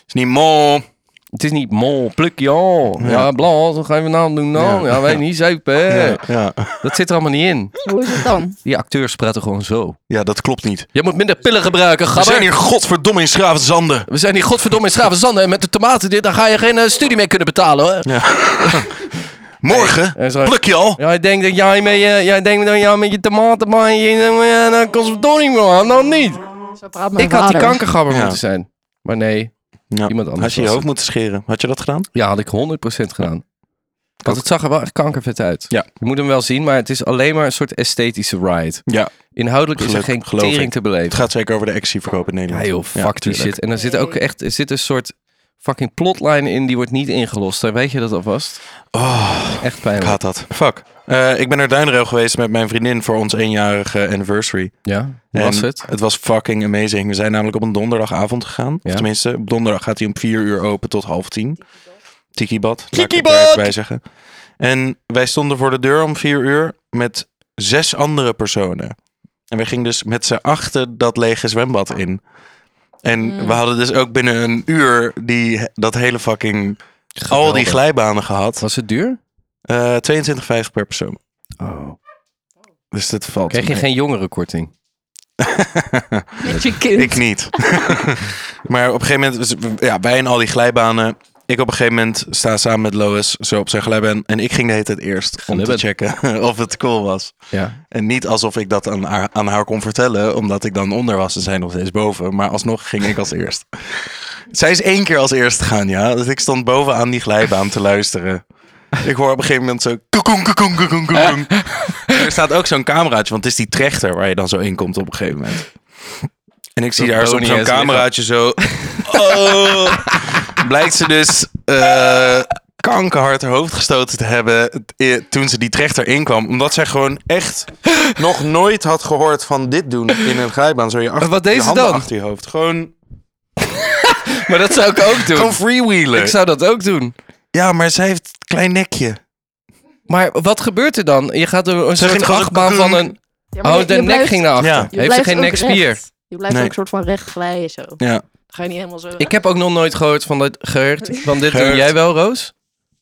[SPEAKER 2] Is niet mol.
[SPEAKER 1] Het is niet mol, pluk, ja. Ja,
[SPEAKER 2] Ja.
[SPEAKER 1] bla, zo ga je mijn naam doen dan. Ja,
[SPEAKER 2] Ja.
[SPEAKER 1] weet niet, zuipen. hè.
[SPEAKER 2] Ja, ja.
[SPEAKER 1] Dat zit er allemaal niet in.
[SPEAKER 3] Hoe is het dan?
[SPEAKER 1] Die acteurs praten gewoon zo.
[SPEAKER 2] ja, dat klopt niet.
[SPEAKER 1] Je moet minder pillen gebruiken,
[SPEAKER 2] We
[SPEAKER 1] gabber.
[SPEAKER 2] zijn hier godverdomme in Schravenzanden.
[SPEAKER 1] We zijn hier godverdomme in Schravenzanden. En met de tomaten, dit, daar ga je geen eh, studie mee kunnen betalen, hoor.
[SPEAKER 2] Morgen
[SPEAKER 1] eh, sorry.
[SPEAKER 2] pluk je al.
[SPEAKER 1] Ja, ik denk dat jij, met je, jij denkt dat jij met je tomaten maar je eh, naar een conservatorium wil gaan, dan niet.
[SPEAKER 3] Zo praat mijn
[SPEAKER 1] ik had die
[SPEAKER 3] vader.
[SPEAKER 1] kankergabber
[SPEAKER 2] Ja.
[SPEAKER 1] moeten zijn. Maar nee,
[SPEAKER 2] Ja.
[SPEAKER 1] iemand anders
[SPEAKER 2] Had je
[SPEAKER 1] was
[SPEAKER 2] je hoofd
[SPEAKER 1] het.
[SPEAKER 2] moeten scheren? Had je dat gedaan?
[SPEAKER 1] ja, had ik 100% gedaan. Want het zag er wel echt kankervet uit.
[SPEAKER 2] Ja.
[SPEAKER 1] Je moet hem wel zien, maar het is alleen maar een soort esthetische ride.
[SPEAKER 2] Ja,
[SPEAKER 1] Inhoudelijk
[SPEAKER 2] Geluk-
[SPEAKER 1] is er geen
[SPEAKER 2] geloof
[SPEAKER 1] tering
[SPEAKER 2] ik.
[SPEAKER 1] te
[SPEAKER 2] het
[SPEAKER 1] beleven.
[SPEAKER 2] gaat zeker over de actieverkoop in
[SPEAKER 1] Ja
[SPEAKER 2] Nederland.
[SPEAKER 1] joh, fuck die
[SPEAKER 2] tuurlijk.
[SPEAKER 1] shit. En er zit ook echt er zit een soort fucking plotline in die wordt niet ingelost. Daar weet je dat alvast. echt
[SPEAKER 2] Ik
[SPEAKER 1] pijnlijk.
[SPEAKER 2] haat dat. Fuck. Eh, ik ben naar Duinrail geweest met mijn vriendin voor ons eenjarige anniversary.
[SPEAKER 1] Ja, hoe was
[SPEAKER 2] En
[SPEAKER 1] het?
[SPEAKER 2] Het was fucking amazing. We zijn namelijk op een donderdagavond gegaan.
[SPEAKER 1] Ja.
[SPEAKER 2] Tenminste, op donderdag gaat hij om vier uur open tot half tien. Tikibad. Tikibad! Wij zeggen. En wij stonden voor de deur om vier uur met zes andere personen. En wij gingen dus met z'n achten dat lege zwembad in. En
[SPEAKER 1] Mm.
[SPEAKER 2] we hadden dus ook binnen een uur die, dat hele fucking... Al die
[SPEAKER 1] Geweldig.
[SPEAKER 2] glijbanen gehad.
[SPEAKER 1] Was het duur?
[SPEAKER 2] Eh 22,50 per persoon.
[SPEAKER 1] Oh.
[SPEAKER 2] Dus dat valt
[SPEAKER 1] Kreeg je
[SPEAKER 2] mee.
[SPEAKER 1] geen jongerenkorting?
[SPEAKER 3] Met je kind.
[SPEAKER 2] Ik niet. maar op een gegeven moment, dus, ja, wij en al die glijbanen. Ik op een gegeven moment sta samen met Lois zo op zijn glijbaan. En ik ging de hele tijd eerst om
[SPEAKER 1] Glijbaan.
[SPEAKER 2] te checken of het cool was.
[SPEAKER 1] Ja.
[SPEAKER 2] En niet alsof ik dat aan haar, aan haar kon vertellen, omdat ik dan onder was en zij nog steeds boven. Maar alsnog ging ik als eerst. Zij is één keer als eerst gegaan, ja. Dus ik stond boven aan die glijbaan te luisteren. Ik hoor op een gegeven moment zo... Koekoen, koekoen, koekoen, koekoen. Er staat ook zo'n cameraatje, want het is die trechter waar je dan zo in komt op een gegeven moment. En ik zie
[SPEAKER 1] Dat
[SPEAKER 2] daar soms
[SPEAKER 1] Bonnie
[SPEAKER 2] zo'n
[SPEAKER 1] eens liggen.
[SPEAKER 2] cameraatje zo... Oh, blijkt ze dus eh kankerhard haar hoofd gestoten te hebben eh, toen ze die trechter inkwam. Omdat zij gewoon echt nog nooit had gehoord van dit doen in een glijbaan. Zo je achter,
[SPEAKER 1] Wat deed
[SPEAKER 2] je
[SPEAKER 1] ze
[SPEAKER 2] handen
[SPEAKER 1] dan?
[SPEAKER 2] achter je hoofd. Gewoon,
[SPEAKER 1] Maar dat zou ik ook doen.
[SPEAKER 2] gewoon freewheelen.
[SPEAKER 1] Ik zou dat ook doen.
[SPEAKER 2] Ja, maar zij heeft een klein nekje.
[SPEAKER 1] Maar wat gebeurt er dan? Je gaat door een soort
[SPEAKER 2] ging gewoon-
[SPEAKER 1] achtbaan van een...
[SPEAKER 3] Ja, maar
[SPEAKER 1] Oh,
[SPEAKER 3] je-
[SPEAKER 1] de
[SPEAKER 3] je
[SPEAKER 1] nek
[SPEAKER 3] blijft-
[SPEAKER 1] ging naar achter.
[SPEAKER 2] Ja.
[SPEAKER 3] je
[SPEAKER 1] Heeft ze
[SPEAKER 3] blijft
[SPEAKER 1] geen
[SPEAKER 3] ook
[SPEAKER 1] nekspier?
[SPEAKER 3] recht. Je blijft
[SPEAKER 2] Nee.
[SPEAKER 3] ook een soort van recht glijden zo. Dan
[SPEAKER 2] Ja.
[SPEAKER 3] ga je niet helemaal zo...
[SPEAKER 1] Ik heb ook nog nooit gehoord van dat geurt. Van dit doe
[SPEAKER 2] Geurt.
[SPEAKER 1] jij wel, Roos?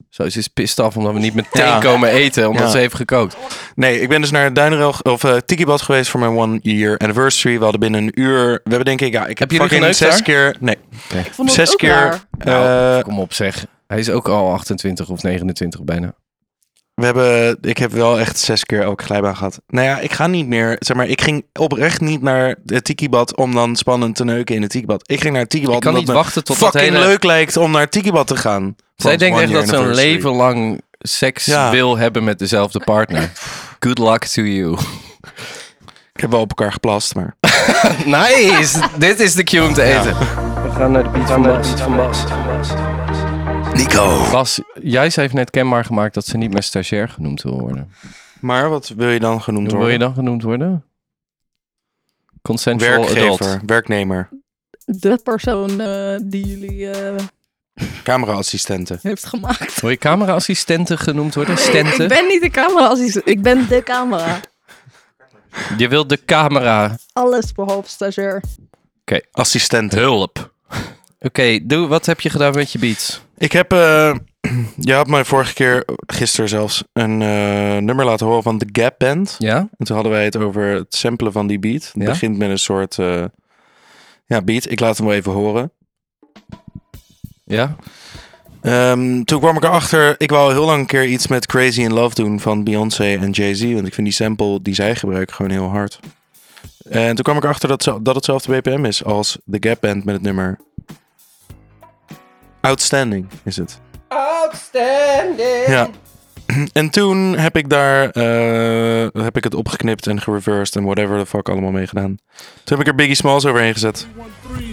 [SPEAKER 1] Zo, ze is pissed af omdat we niet meteen
[SPEAKER 2] Ja.
[SPEAKER 1] komen eten, omdat
[SPEAKER 2] Ja.
[SPEAKER 1] ze heeft gekookt.
[SPEAKER 2] Nee, ik ben dus naar Duinrel of eh, Tikibad geweest voor mijn one year anniversary. We hadden binnen een uur. We hebben denk ik, ja, ik heb,
[SPEAKER 1] Heb jullie
[SPEAKER 2] fucking
[SPEAKER 1] geneukt daar?
[SPEAKER 2] zes keer. Nee,
[SPEAKER 3] Ik vond het
[SPEAKER 2] zes
[SPEAKER 3] ook
[SPEAKER 2] keer.
[SPEAKER 3] raar.
[SPEAKER 1] Nou,
[SPEAKER 2] eh,
[SPEAKER 1] kom op zeg. Hij is ook al 28 of 29 bijna.
[SPEAKER 2] we hebben, ik heb wel echt zes keer elke glijbaan gehad. Nou ja, ik ga niet meer. Zeg maar, ik ging oprecht niet naar het Tikibad om dan spannend te neuken in het Tikibad. Ik ging naar het Tikibad
[SPEAKER 1] Ik kan
[SPEAKER 2] omdat
[SPEAKER 1] niet
[SPEAKER 2] me
[SPEAKER 1] wachten tot dat
[SPEAKER 2] fucking
[SPEAKER 1] hele...
[SPEAKER 2] leuk lijkt om naar het Tikibad te gaan. Voor
[SPEAKER 1] Zij
[SPEAKER 2] ons
[SPEAKER 1] denkt
[SPEAKER 2] one
[SPEAKER 1] echt
[SPEAKER 2] year
[SPEAKER 1] dat ze een
[SPEAKER 2] anniversary.
[SPEAKER 1] leven lang seks
[SPEAKER 2] Ja.
[SPEAKER 1] wil hebben met dezelfde partner. Good luck to you.
[SPEAKER 2] Ik heb wel op elkaar geplast, maar.
[SPEAKER 1] Nice! Dit is de cue om te eten. We gaan naar de beat van Bas.
[SPEAKER 2] Nico.
[SPEAKER 1] Bas, jij heeft net kenbaar gemaakt dat ze niet meer stagiair genoemd wil worden.
[SPEAKER 2] Maar wat wil je dan genoemd
[SPEAKER 1] Hoe
[SPEAKER 2] worden?
[SPEAKER 1] wil je dan genoemd worden? Consensual
[SPEAKER 2] Werkgever,
[SPEAKER 1] adult.
[SPEAKER 2] werknemer,
[SPEAKER 3] De persoon eh, die jullie eh,
[SPEAKER 2] cameraassistenten.
[SPEAKER 3] heeft gemaakt.
[SPEAKER 1] Wil je cameraassistenten genoemd worden? Stenten?
[SPEAKER 3] Ik ben niet de camera als iets. Ik ben de camera.
[SPEAKER 1] Je wilt de camera
[SPEAKER 3] Alles behalve stagiair.
[SPEAKER 2] Assistenten.
[SPEAKER 1] hulp. Oké, doe, wat heb je gedaan met je beats?
[SPEAKER 2] Ik heb, eh, je had mij vorige keer, gisteren zelfs, een eh, nummer laten horen van The Gap Band.
[SPEAKER 1] Ja?
[SPEAKER 2] En toen hadden wij het over het samplen van die beat. Het
[SPEAKER 1] Ja?
[SPEAKER 2] begint met een soort, eh, ja, beat. Ik laat hem wel even horen.
[SPEAKER 1] Ja?
[SPEAKER 2] Ehm, toen kwam ik erachter, ik wou al heel lang een keer iets met Crazy in Love doen van Beyoncé en Jay-Z. Want ik vind die sample die zij gebruiken gewoon heel hard. En toen kwam ik erachter dat, ze- dat hetzelfde BPM is als The Gap Band met het nummer. Outstanding is het. Outstanding! Ja. En toen heb ik daar eh, heb ik het opgeknipt en gereversed en whatever the fuck allemaal mee gedaan. Toen heb ik er Biggie Smalls overheen gezet.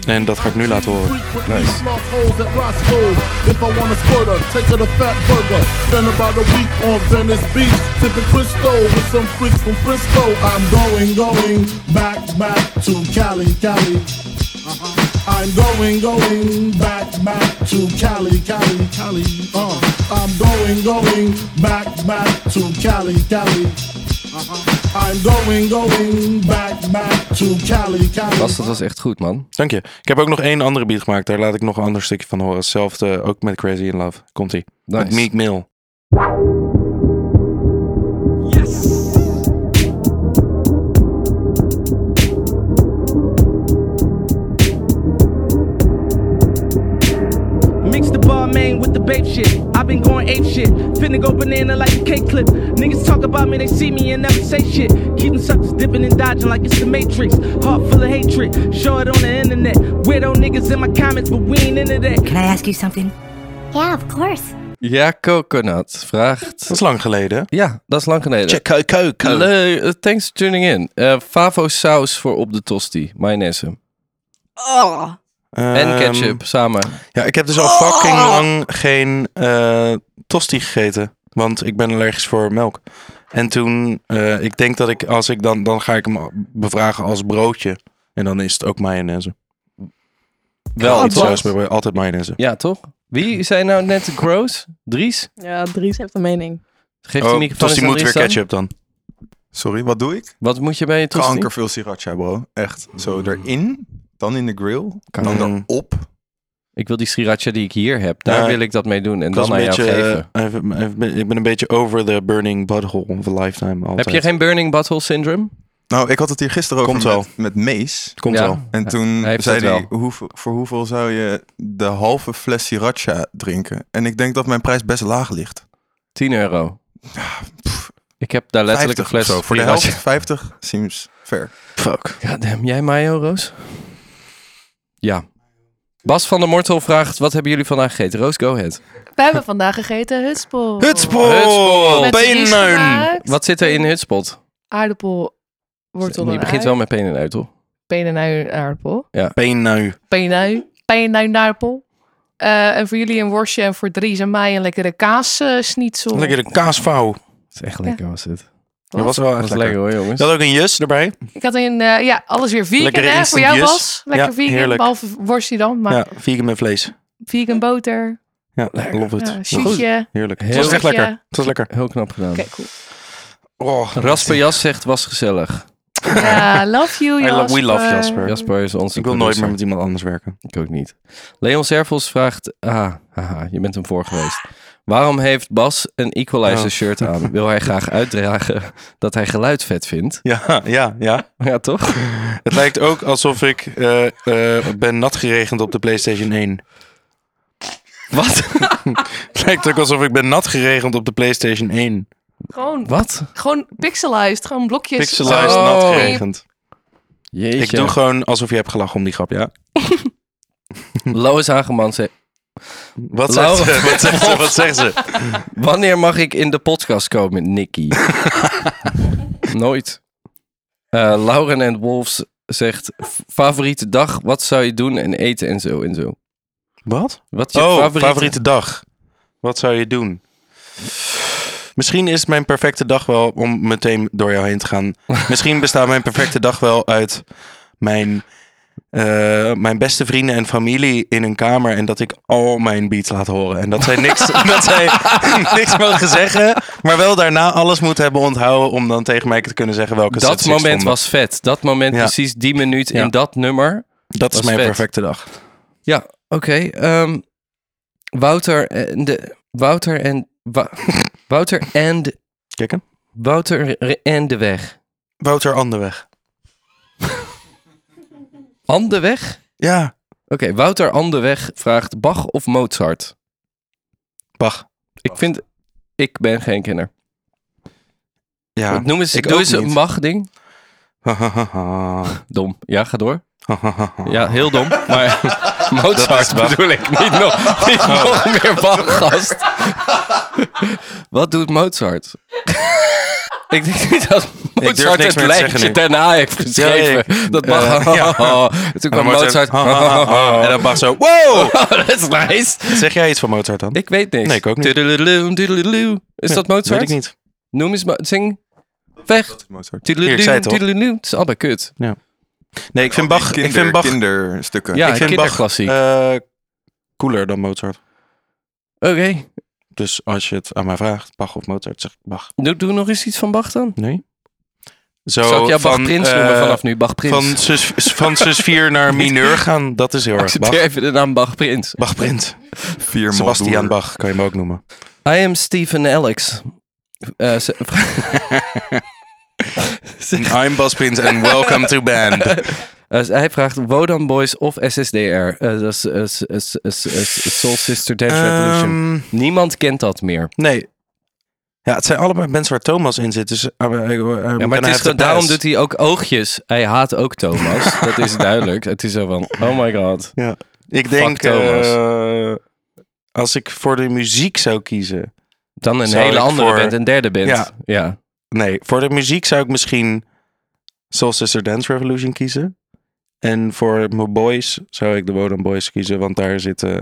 [SPEAKER 2] En dat ga ik nu laten horen.
[SPEAKER 7] Nice. If I wanna squirt her, take her to Fat Burger. Spend about a week on Venice Beach, sipping Crisco with some freaks from Frisco. I'm going, going back, back to Cali, Cali. Uh-huh. I'm going, going back, back to Cali, Cali, Cali. Uh, I'm going, going back, back to Cali, Cali. Uh-huh. I'm going, going back, back to Cali, Cali.
[SPEAKER 1] Bas, dat was echt goed, man.
[SPEAKER 2] Dank je. Ik heb ook nog één andere beat gemaakt. Daar laat ik nog een ander stukje van horen. Hetzelfde, ook met Crazy in Love. Komt ie. Met
[SPEAKER 1] Nice.
[SPEAKER 2] Meek Mill.
[SPEAKER 8] Mix the barmaid with the babe shit. I've been going ape shit. Finna go banana like a cake clip. Niggas talk about me, they see me and never say shit. Keep them suckers dipping and dodging like it's the Matrix. Heart full of hatred. Show it on the internet. Weirdo niggas in my comments, but we ain't into that.
[SPEAKER 9] Can I ask you something?
[SPEAKER 4] Yeah, of course.
[SPEAKER 1] Ja, coconut vraagt.
[SPEAKER 2] Dat is lang geleden.
[SPEAKER 1] Ja, dat is lang geleden.
[SPEAKER 2] Check coco.
[SPEAKER 1] Leuk, eh, thanks for tuning in. Eh, Favo saus voor op de tosti, mayonaise.
[SPEAKER 3] Oh,
[SPEAKER 2] Ehm,
[SPEAKER 1] En ketchup Oh! samen.
[SPEAKER 2] Ja, ik heb dus al fucking lang geen eh, tosti gegeten. Want ik ben allergisch voor melk. En toen, eh, ik denk dat ik, als ik dan, dan ga ik hem bevragen als broodje. En dan is het ook mayonaise.
[SPEAKER 1] Wel
[SPEAKER 2] Altijd,
[SPEAKER 1] toch?
[SPEAKER 2] saus bij- bij- altijd mayonaise.
[SPEAKER 1] Ja, toch? Wie zei nou net gross? Dries?
[SPEAKER 3] ja, Dries heeft een mening.
[SPEAKER 1] Geef de
[SPEAKER 2] Oh,
[SPEAKER 1] microfoon eens
[SPEAKER 2] tosti
[SPEAKER 1] aan
[SPEAKER 2] moet weer
[SPEAKER 1] Dries dan.
[SPEAKER 2] ketchup dan.
[SPEAKER 5] Sorry, wat doe ik?
[SPEAKER 1] Wat moet je bij je tosti?
[SPEAKER 5] Kanker veel sriracha, bro. Echt. Zo erin, dan in de grill,
[SPEAKER 1] Kanker.
[SPEAKER 5] dan erop.
[SPEAKER 1] Ik wil die sriracha die ik hier heb. Daar
[SPEAKER 2] Ja,
[SPEAKER 1] wil ik dat mee doen en
[SPEAKER 2] Ik,
[SPEAKER 1] dan
[SPEAKER 2] was
[SPEAKER 1] aan
[SPEAKER 2] een
[SPEAKER 1] jou
[SPEAKER 2] beetje,
[SPEAKER 1] geven.
[SPEAKER 2] eh, even- even- ik ben een beetje over the burning butthole of a lifetime altijd.
[SPEAKER 1] heb je geen burning butthole syndrome?
[SPEAKER 5] Nou, ik had het hier gisteren
[SPEAKER 2] Komt
[SPEAKER 5] over
[SPEAKER 2] wel.
[SPEAKER 5] met, met Mees.
[SPEAKER 2] Komt
[SPEAKER 1] Ja.
[SPEAKER 2] wel.
[SPEAKER 5] En toen
[SPEAKER 1] hij heeft
[SPEAKER 5] zei
[SPEAKER 1] het
[SPEAKER 5] hij, hoeveel- voor hoeveel zou je de halve fles sriracha drinken? En ik denk dat mijn prijs best laag ligt.
[SPEAKER 1] 10 euro. Ik heb daar letterlijk een
[SPEAKER 5] 50
[SPEAKER 1] fles
[SPEAKER 5] of zo. Voor de helft,
[SPEAKER 1] sriracha.
[SPEAKER 5] 50 seems fair.
[SPEAKER 2] Fuck.
[SPEAKER 1] Goddamn, jij mayo, Roos? Ja. Bas van der Mortel vraagt, wat hebben jullie vandaag gegeten? Roos, go ahead.
[SPEAKER 9] We hebben vandaag gegeten hutspol.
[SPEAKER 1] Hutspot.
[SPEAKER 9] Met ries
[SPEAKER 2] Peneun.
[SPEAKER 9] gemaakt,
[SPEAKER 1] Wat zit er in Hutspot?
[SPEAKER 9] Aardappel, wortel en
[SPEAKER 1] Je begint
[SPEAKER 9] ui.
[SPEAKER 1] wel met peen en uit, toch?
[SPEAKER 9] Penenuien en aardappel.
[SPEAKER 2] Peneun.
[SPEAKER 9] Penenuien. Penenuien aardappel. Eh, en voor jullie een worstje en voor Dries en mij een lekkere kaassnietsel.
[SPEAKER 2] Lekker de kaasvouw.
[SPEAKER 1] Dat is echt lekker, was het.
[SPEAKER 2] Dat was wel
[SPEAKER 1] Dat
[SPEAKER 2] echt
[SPEAKER 1] is
[SPEAKER 2] lekker.
[SPEAKER 1] lekker hoor, jongens.
[SPEAKER 2] Je had ook een jus erbij.
[SPEAKER 9] Ik had een, eh, ja, alles weer vegan
[SPEAKER 2] Lekkere
[SPEAKER 9] hè, voor
[SPEAKER 2] instant
[SPEAKER 9] jou
[SPEAKER 2] yes.
[SPEAKER 9] Bas. Lekker
[SPEAKER 2] Ja,
[SPEAKER 9] vegan,
[SPEAKER 2] heerlijk.
[SPEAKER 9] behalve worstje dan, maar
[SPEAKER 2] Ja, vegan met vlees.
[SPEAKER 9] vegan boter,
[SPEAKER 2] Ja, love it.
[SPEAKER 9] ja, shoetje.
[SPEAKER 2] Heerlijk. Het
[SPEAKER 1] Heel
[SPEAKER 2] was echt
[SPEAKER 9] goed.
[SPEAKER 2] lekker. Het was lekker.
[SPEAKER 1] Heel knap gedaan.
[SPEAKER 9] Oké, cool.
[SPEAKER 2] Oh,
[SPEAKER 1] Rasper Jas zegt, was gezellig.
[SPEAKER 9] Ja, love you
[SPEAKER 2] I
[SPEAKER 9] Jasper.
[SPEAKER 2] love- we love Jasper.
[SPEAKER 1] Jasper is onze
[SPEAKER 2] ik wil nooit
[SPEAKER 1] producer.
[SPEAKER 2] meer met iemand anders werken.
[SPEAKER 1] Ik ook niet. Leon Servels vraagt... Ah, haha, je bent hem voor geweest. Waarom heeft Bas een Equalizer
[SPEAKER 2] Oh.
[SPEAKER 1] shirt aan? Wil hij graag uitdragen dat hij geluid vet vindt?
[SPEAKER 2] Ja, ja, ja.
[SPEAKER 1] Ja, toch?
[SPEAKER 2] Het lijkt ook alsof ik eh, eh, ben nat geregend op de PlayStation 1.
[SPEAKER 1] Wat?
[SPEAKER 2] Het lijkt ook alsof ik ben nat geregend op de PlayStation 1.
[SPEAKER 9] Gewoon,
[SPEAKER 1] Wat?
[SPEAKER 9] gewoon pixelized, gewoon blokjes.
[SPEAKER 2] Pixelized,
[SPEAKER 1] Oh.
[SPEAKER 2] nat geregend.
[SPEAKER 1] Jeetje.
[SPEAKER 2] Ik doe gewoon alsof je hebt gelachen om die grap, ja?
[SPEAKER 1] Lois Hageman zegt...
[SPEAKER 2] Wat zegt
[SPEAKER 1] Laura.
[SPEAKER 2] ze? Wat zegt ze? Wat zegt ze?
[SPEAKER 1] Wanneer mag ik in de podcast komen, Nicky? Nooit. Eh, Lauren en Wolfs zegt... Favoriete dag, wat zou je doen en eten en zo en zo.
[SPEAKER 2] Wat?
[SPEAKER 1] Wat is je
[SPEAKER 2] Oh, favoriete...
[SPEAKER 1] favoriete...
[SPEAKER 2] dag. Wat zou je doen? Misschien is mijn perfecte dag wel om meteen door jou heen te gaan. Misschien bestaat mijn perfecte dag wel uit mijn, eh, mijn beste vrienden en familie in een kamer en dat ik al mijn beats laat horen. En dat zij niks, dat zij niks mogen zeggen, maar wel daarna alles moet hebben onthouden om dan tegen mij te kunnen zeggen welke
[SPEAKER 1] Dat
[SPEAKER 2] sets ik
[SPEAKER 1] moment
[SPEAKER 2] vond.
[SPEAKER 1] was vet. Dat moment,
[SPEAKER 2] Ja.
[SPEAKER 1] precies die minuut
[SPEAKER 2] Ja.
[SPEAKER 1] in dat nummer.
[SPEAKER 2] Dat is
[SPEAKER 1] was
[SPEAKER 2] mijn
[SPEAKER 1] vet.
[SPEAKER 2] perfecte dag.
[SPEAKER 1] Ja, oké. ehm, Wouter en de... Wouter en... Wa- Wouter en... de-
[SPEAKER 2] Kijk hem.
[SPEAKER 1] Wouter en de weg.
[SPEAKER 2] Wouter Anderweg.
[SPEAKER 1] Andeweg?
[SPEAKER 2] Ja,
[SPEAKER 1] Oké, Wouter Andeweg vraagt Bach of Mozart?
[SPEAKER 2] Bach.
[SPEAKER 1] Ik vind... Ik ben geen kenner.
[SPEAKER 2] Ja.
[SPEAKER 1] Noem eens,
[SPEAKER 2] Ah, ik
[SPEAKER 1] doe
[SPEAKER 2] ook
[SPEAKER 1] eens een
[SPEAKER 2] niet.
[SPEAKER 1] Bach-ding. Dom. Ja, ga door. Ja, heel dom. Maar Mozart
[SPEAKER 2] Bach.
[SPEAKER 1] bedoel ik. Niet nog, niet nog meer Bach, gast. Wat doet Mozart? ik denk niet dat
[SPEAKER 2] durf
[SPEAKER 1] Mozart
[SPEAKER 2] niks
[SPEAKER 1] het
[SPEAKER 2] meer te zeggen
[SPEAKER 1] lijntje
[SPEAKER 2] nu.
[SPEAKER 1] daarna heeft geschreven.
[SPEAKER 2] Ja, ik-
[SPEAKER 1] dat Bach...
[SPEAKER 2] eh, ja.
[SPEAKER 1] Toen kwam
[SPEAKER 2] En dan
[SPEAKER 1] Mozart... Oh,
[SPEAKER 2] ha, ha, ha, ha. En dan Bach zo, wow!
[SPEAKER 1] dat is nice.
[SPEAKER 2] Zeg jij iets van Mozart dan?
[SPEAKER 1] Ik weet niks.
[SPEAKER 2] Nee, ik ook niet.
[SPEAKER 1] Tudeludeluw, tudeludeluw. Is dat Mozart?
[SPEAKER 2] Weet ik niet.
[SPEAKER 1] Noem eens... Mo- Zing. Weg.
[SPEAKER 5] Mozart.
[SPEAKER 1] Tudeludeluw,
[SPEAKER 2] Hier, ik zei het al.
[SPEAKER 1] tudeludeluw. Het is allemaal kut.
[SPEAKER 2] Nee, ik vind Bach,
[SPEAKER 5] Kinder,
[SPEAKER 2] ik vind Bach,
[SPEAKER 5] kinderstukken.
[SPEAKER 1] Ja,
[SPEAKER 2] ik vind Bach
[SPEAKER 1] kinderklassiek.
[SPEAKER 2] Ah, eh, cooler dan Mozart.
[SPEAKER 1] Oké.
[SPEAKER 2] Dus als je het aan mij vraagt, Bach of Mozart, zeg ik Bach.
[SPEAKER 1] Doe, doe nog eens iets van Bach dan.
[SPEAKER 2] Nee. Zo
[SPEAKER 1] Zou ik jou Bach Prins noemen
[SPEAKER 2] eh,
[SPEAKER 1] vanaf nu? Bach Prins.
[SPEAKER 2] Van sus, van sus 4 naar mineur gaan, dat is heel erg Bach.
[SPEAKER 1] Accepteer even de naam Bach Prins.
[SPEAKER 2] Bach Print.
[SPEAKER 5] Vier
[SPEAKER 2] Sebastian Bach kan je hem ook noemen.
[SPEAKER 1] I am Stephen Alex. Eh, ze-
[SPEAKER 2] I'm Bas Print and welcome to band.
[SPEAKER 1] eh, hij vraagt Wodan Boys of SSDR. Eh, dat is eh, s- s- s- s- eh, Soul Sister Dance Revolution.
[SPEAKER 2] Ehm,
[SPEAKER 1] Niemand kent dat meer.
[SPEAKER 2] Nee. Ja, het zijn allebei mensen waar Thomas in zit. Dus,
[SPEAKER 1] Ja, maar het is, gewoon- daarom doet hij ook oogjes. Hij haat ook Thomas. dat is duidelijk. Het is zo van, oh my god.
[SPEAKER 2] Ik denk...
[SPEAKER 1] Thomas.
[SPEAKER 2] eh, als ik voor de muziek zou kiezen.
[SPEAKER 1] Dan een
[SPEAKER 2] Zou
[SPEAKER 1] hele
[SPEAKER 2] ik
[SPEAKER 1] andere
[SPEAKER 2] voor-
[SPEAKER 1] band, een derde band.
[SPEAKER 2] Ja.
[SPEAKER 1] Ja.
[SPEAKER 2] Nee, voor de muziek zou ik misschien Soul Sister Dance Revolution kiezen. En voor mijn boys zou ik de Wodan Boys kiezen, want daar zit eh,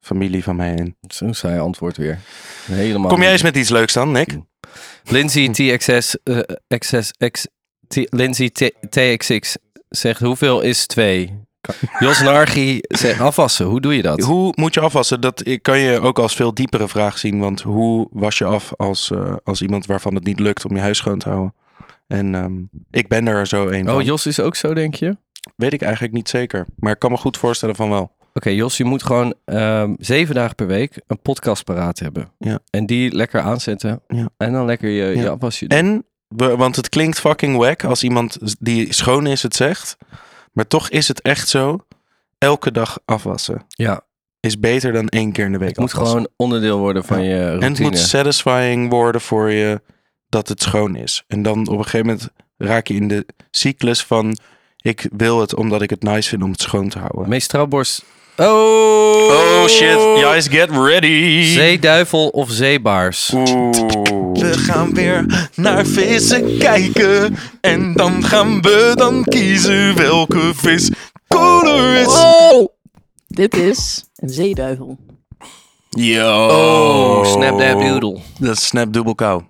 [SPEAKER 2] familie van mij in.
[SPEAKER 1] Zo'n saai antwoord weer. Helemaal.
[SPEAKER 2] Kom jij eens
[SPEAKER 1] niet.
[SPEAKER 2] met iets leuks dan, Nick?
[SPEAKER 1] Lindsay TXS, eh, XS, X, T, Lindsay T, TXX zegt hoeveel is 2? Jos Nargi zegt afwassen, hoe doe je dat?
[SPEAKER 2] Hoe moet je afwassen? Dat ik- kan je ook als veel diepere vraag zien. Want hoe was je af als, eh, als iemand waarvan het niet lukt om je huis schoon te houden? En ehm, ik ben er zo een
[SPEAKER 1] Oh,
[SPEAKER 2] van.
[SPEAKER 1] Jos is ook zo, denk je? Oké,
[SPEAKER 2] Weet ik eigenlijk niet zeker. Maar ik kan me goed voorstellen van wel.
[SPEAKER 1] Jos, je moet gewoon ehm, zeven dagen per week een podcast paraat hebben.
[SPEAKER 2] Ja.
[SPEAKER 1] En die lekker aanzetten.
[SPEAKER 2] Ja.
[SPEAKER 1] En dan lekker je,
[SPEAKER 2] Ja.
[SPEAKER 1] je afwasje doen.
[SPEAKER 2] En, we- want het klinkt fucking wack als iemand z- die schoon is het zegt. Maar toch is het echt zo. Elke dag afwassen
[SPEAKER 1] ja,
[SPEAKER 2] is beter dan één keer in de week
[SPEAKER 1] het moet
[SPEAKER 2] afwassen.
[SPEAKER 1] gewoon onderdeel worden van je routine.
[SPEAKER 2] En het moet satisfying worden voor je dat het schoon is. En dan op een gegeven moment raak je in de cyclus van... ik wil het omdat ik het nice vind om het schoon te houden.
[SPEAKER 1] Mees Trouwborst. Oh!
[SPEAKER 2] Oh shit, guys, get ready!
[SPEAKER 1] Zeeduivel of zeebaars?
[SPEAKER 2] Oeh.
[SPEAKER 5] We gaan weer naar vissen kijken. En dan gaan we dan kiezen welke vis cooler is.
[SPEAKER 3] Oh! Dit is een zeeduivel.
[SPEAKER 2] Yo.
[SPEAKER 1] Oh, snap that doodle.
[SPEAKER 2] Dat is snap dubbel kou.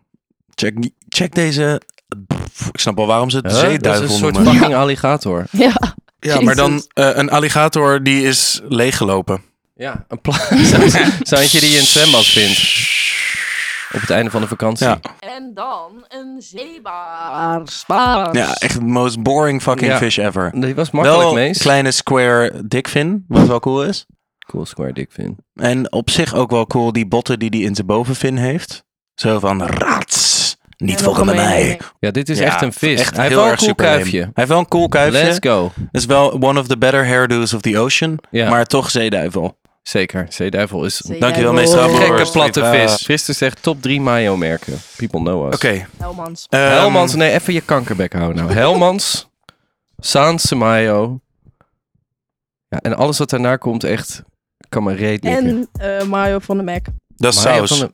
[SPEAKER 2] Check, check deze... Pff, Ik snap al waarom ze het
[SPEAKER 1] Huh? Dat is
[SPEAKER 2] zeeduivel
[SPEAKER 1] een soort
[SPEAKER 2] noemen.
[SPEAKER 1] fucking alligator.
[SPEAKER 3] Ja.
[SPEAKER 2] Ja, maar dan eh, een alligator die is leeggelopen.
[SPEAKER 1] Ja, een plaatje die je in het zwembad vindt. Op het einde van de vakantie.
[SPEAKER 2] Ja.
[SPEAKER 3] En dan een zeebaars. Baars.
[SPEAKER 2] Ja, echt the most boring fucking
[SPEAKER 1] Ja.
[SPEAKER 2] fish ever.
[SPEAKER 1] Die was makkelijk,
[SPEAKER 2] wel
[SPEAKER 1] Mees.
[SPEAKER 2] kleine square dikvin, wat wel cool is.
[SPEAKER 1] Cool square dick vind.
[SPEAKER 2] En op zich ook wel cool die botten die die in zijn bovenvin heeft. Zo van, rats, niet
[SPEAKER 3] En
[SPEAKER 2] volgen bij
[SPEAKER 3] nog een
[SPEAKER 2] mij.
[SPEAKER 3] mening.
[SPEAKER 1] Ja, dit is
[SPEAKER 2] Ja,
[SPEAKER 1] echt een vis.
[SPEAKER 2] echt
[SPEAKER 1] Hij heeft
[SPEAKER 2] heel
[SPEAKER 1] wel een
[SPEAKER 2] erg
[SPEAKER 1] cool
[SPEAKER 2] super lame.
[SPEAKER 1] kuifje.
[SPEAKER 2] Hij heeft wel een cool kuifje.
[SPEAKER 1] Let's go.
[SPEAKER 2] Is wel one of the better hairdos of the ocean.
[SPEAKER 1] Ja.
[SPEAKER 2] Maar toch zeeduivel.
[SPEAKER 1] Zeker, zeeduivel is een
[SPEAKER 3] Zeeduivel.
[SPEAKER 2] Dankjewel, meester Abel.
[SPEAKER 1] gekke
[SPEAKER 2] Horst,
[SPEAKER 1] platte
[SPEAKER 2] ik, eh,
[SPEAKER 1] vis. Christus zegt top 3 mayo-merken. People know us.
[SPEAKER 2] Oké.
[SPEAKER 3] Helmans.
[SPEAKER 2] ehm,
[SPEAKER 1] Helmans, nee, even je kankerbek houden nou. Helmans, Saanse mayo. Ja, en alles wat daarna komt, echt, kan me reet nikken.
[SPEAKER 3] En eh, Mario van de Mac.
[SPEAKER 2] Dat is
[SPEAKER 1] Mayo
[SPEAKER 2] saus.
[SPEAKER 1] van de-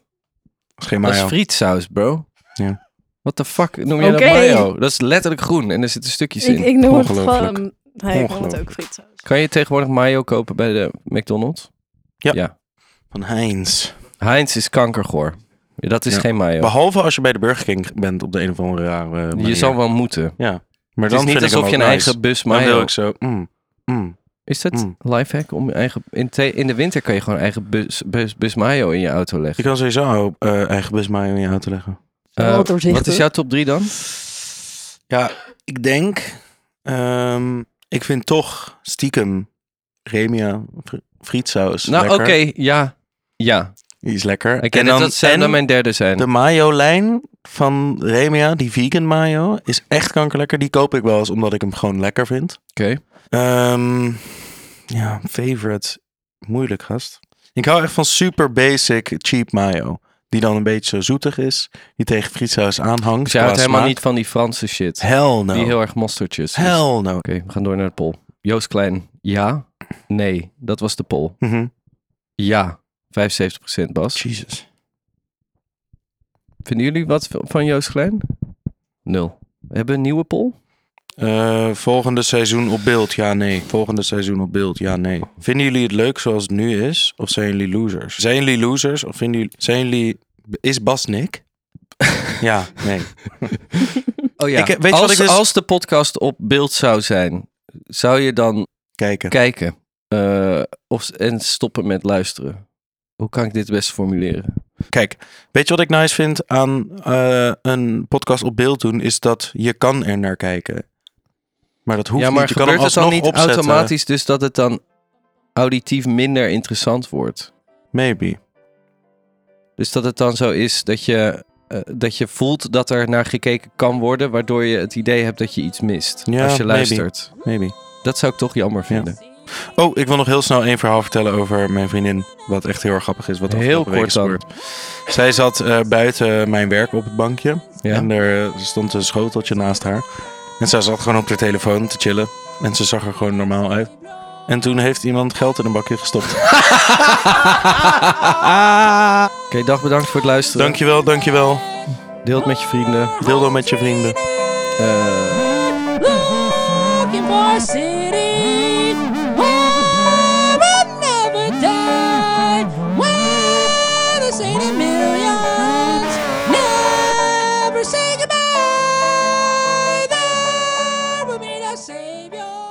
[SPEAKER 2] Dat is geen
[SPEAKER 1] Dat
[SPEAKER 2] mayo.
[SPEAKER 1] is frietsaus, bro.
[SPEAKER 2] Ja.
[SPEAKER 1] What the fuck noem je
[SPEAKER 3] Oké.
[SPEAKER 1] dat mayo? Dat is letterlijk groen en er zitten stukjes
[SPEAKER 3] Ik,
[SPEAKER 1] in.
[SPEAKER 3] ik noem het
[SPEAKER 2] Ongelooflijk.
[SPEAKER 3] gewoon... Hij noemt het ook
[SPEAKER 2] Ongelooflijk.
[SPEAKER 3] frietsaus.
[SPEAKER 1] Kan je tegenwoordig mayo kopen bij de McDonald's?
[SPEAKER 2] Ja.
[SPEAKER 1] ja.
[SPEAKER 2] Van Heinz.
[SPEAKER 1] Heinz is kankergoor. Ja, dat is
[SPEAKER 2] Ja.
[SPEAKER 1] geen mayo.
[SPEAKER 2] Behalve als je bij de Burger King bent op de een of andere rare manier.
[SPEAKER 1] Je zal wel moeten.
[SPEAKER 2] Ja. Maar
[SPEAKER 1] Het is
[SPEAKER 2] dan
[SPEAKER 1] niet
[SPEAKER 2] vind ik hem
[SPEAKER 1] alsof je
[SPEAKER 2] ook
[SPEAKER 1] een
[SPEAKER 2] nice.
[SPEAKER 1] eigen bus
[SPEAKER 2] Maar wil
[SPEAKER 1] mayo...
[SPEAKER 2] ik zo. mm, mm.
[SPEAKER 1] Is dat
[SPEAKER 2] Mm.
[SPEAKER 1] lifehack? Om je eigen... in, te- in de winter kan je gewoon eigen bus, bus, bus mayo in je auto
[SPEAKER 2] Je
[SPEAKER 1] leggen.
[SPEAKER 2] kan sowieso eh, eigen bus mayo in je auto leggen.
[SPEAKER 1] Eh,
[SPEAKER 3] Wel doorzichtig.
[SPEAKER 1] wat is jouw top 3 dan?
[SPEAKER 2] Ja, ik denk. ehm, ik vind toch stiekem Remia fr- frietsaus.
[SPEAKER 1] Nou, oké.
[SPEAKER 2] lekker.
[SPEAKER 1] ja. Ja.
[SPEAKER 2] Die is lekker.
[SPEAKER 1] Ik ken dat dat zou
[SPEAKER 2] en
[SPEAKER 1] dan mijn derde zijn.
[SPEAKER 2] de mayo-lijn van Remia, die vegan mayo, is echt kankerlekker. Die koop ik wel eens omdat ik hem gewoon lekker vind.
[SPEAKER 1] Oké.
[SPEAKER 2] Ehm, ja, favorite. Moeilijk, gast. Ik hou echt van super basic cheap mayo. Die dan een beetje zo zoetig is. Die tegen frietsaus aanhangt.
[SPEAKER 1] Dus jij houdt
[SPEAKER 2] qua
[SPEAKER 1] helemaal
[SPEAKER 2] smaak.
[SPEAKER 1] niet van die Franse shit.
[SPEAKER 2] Hell no.
[SPEAKER 1] Die heel erg mosterdjes. is. Oké,
[SPEAKER 2] Hell no.
[SPEAKER 1] we gaan door naar de poll. Joost Klein, ja? Nee, dat was de poll.
[SPEAKER 2] Mhm.
[SPEAKER 1] Ja, 75% Bas.
[SPEAKER 2] Jesus.
[SPEAKER 1] Vinden jullie wat van Joost Klein? Nul. We hebben een nieuwe poll.
[SPEAKER 2] Eh, volgende seizoen op beeld, ja, nee. Volgende seizoen op beeld, ja, nee. Vinden jullie het leuk zoals het nu is? Of zijn jullie losers? Zijn jullie losers? Of vinden jullie... Zijn jullie... Is Bas Nick? ja, nee.
[SPEAKER 1] Oh
[SPEAKER 2] ja. Ik heb- weet je
[SPEAKER 1] als,
[SPEAKER 2] wat ik dus-
[SPEAKER 1] als de podcast op beeld zou zijn, zou je dan
[SPEAKER 2] Kijken.
[SPEAKER 1] kijken eh, of, en stoppen met luisteren? Hoe kan ik dit best formuleren?
[SPEAKER 2] Kijk, weet je wat ik nice vind aan eh, een podcast op beeld doen? Is dat je kan er naar kijken. Maar dat hoeft
[SPEAKER 1] ja, maar
[SPEAKER 2] niet. Je kan
[SPEAKER 1] gebeurt
[SPEAKER 2] hem
[SPEAKER 1] het dan
[SPEAKER 2] alsnog
[SPEAKER 1] niet
[SPEAKER 2] opzetten.
[SPEAKER 1] automatisch dus dat het dan auditief minder interessant wordt?
[SPEAKER 2] Maybe.
[SPEAKER 1] Dus dat het dan zo is dat je, eh, dat je voelt dat er naar gekeken kan worden, waardoor je het idee hebt dat je iets mist
[SPEAKER 2] Ja,
[SPEAKER 1] als je
[SPEAKER 2] maybe.
[SPEAKER 1] luistert.
[SPEAKER 2] Maybe.
[SPEAKER 1] Dat zou ik toch jammer vinden.
[SPEAKER 2] Oh, ik wil nog heel snel één verhaal vertellen over mijn vriendin. Wat echt heel erg grappig is. Wat de
[SPEAKER 1] Heel
[SPEAKER 2] afgelopen week
[SPEAKER 1] kort
[SPEAKER 2] is
[SPEAKER 1] dan.
[SPEAKER 2] gebeurd. Zij zat eh, buiten mijn werk op het bankje.
[SPEAKER 1] Ja.
[SPEAKER 2] En er eh, stond een schoteltje naast haar. En zij zat gewoon op haar telefoon te chillen. En ze zag er gewoon normaal uit. En toen heeft iemand geld in een bakje gestopt.
[SPEAKER 1] Oké, dag bedankt voor het luisteren.
[SPEAKER 2] Dankjewel, dankjewel.
[SPEAKER 1] Deel het met je vrienden.
[SPEAKER 2] Deel dan met je vrienden.
[SPEAKER 1] Eh,
[SPEAKER 10] Looking for a city where it never died, where the city millions never say goodbye. There will be no savior.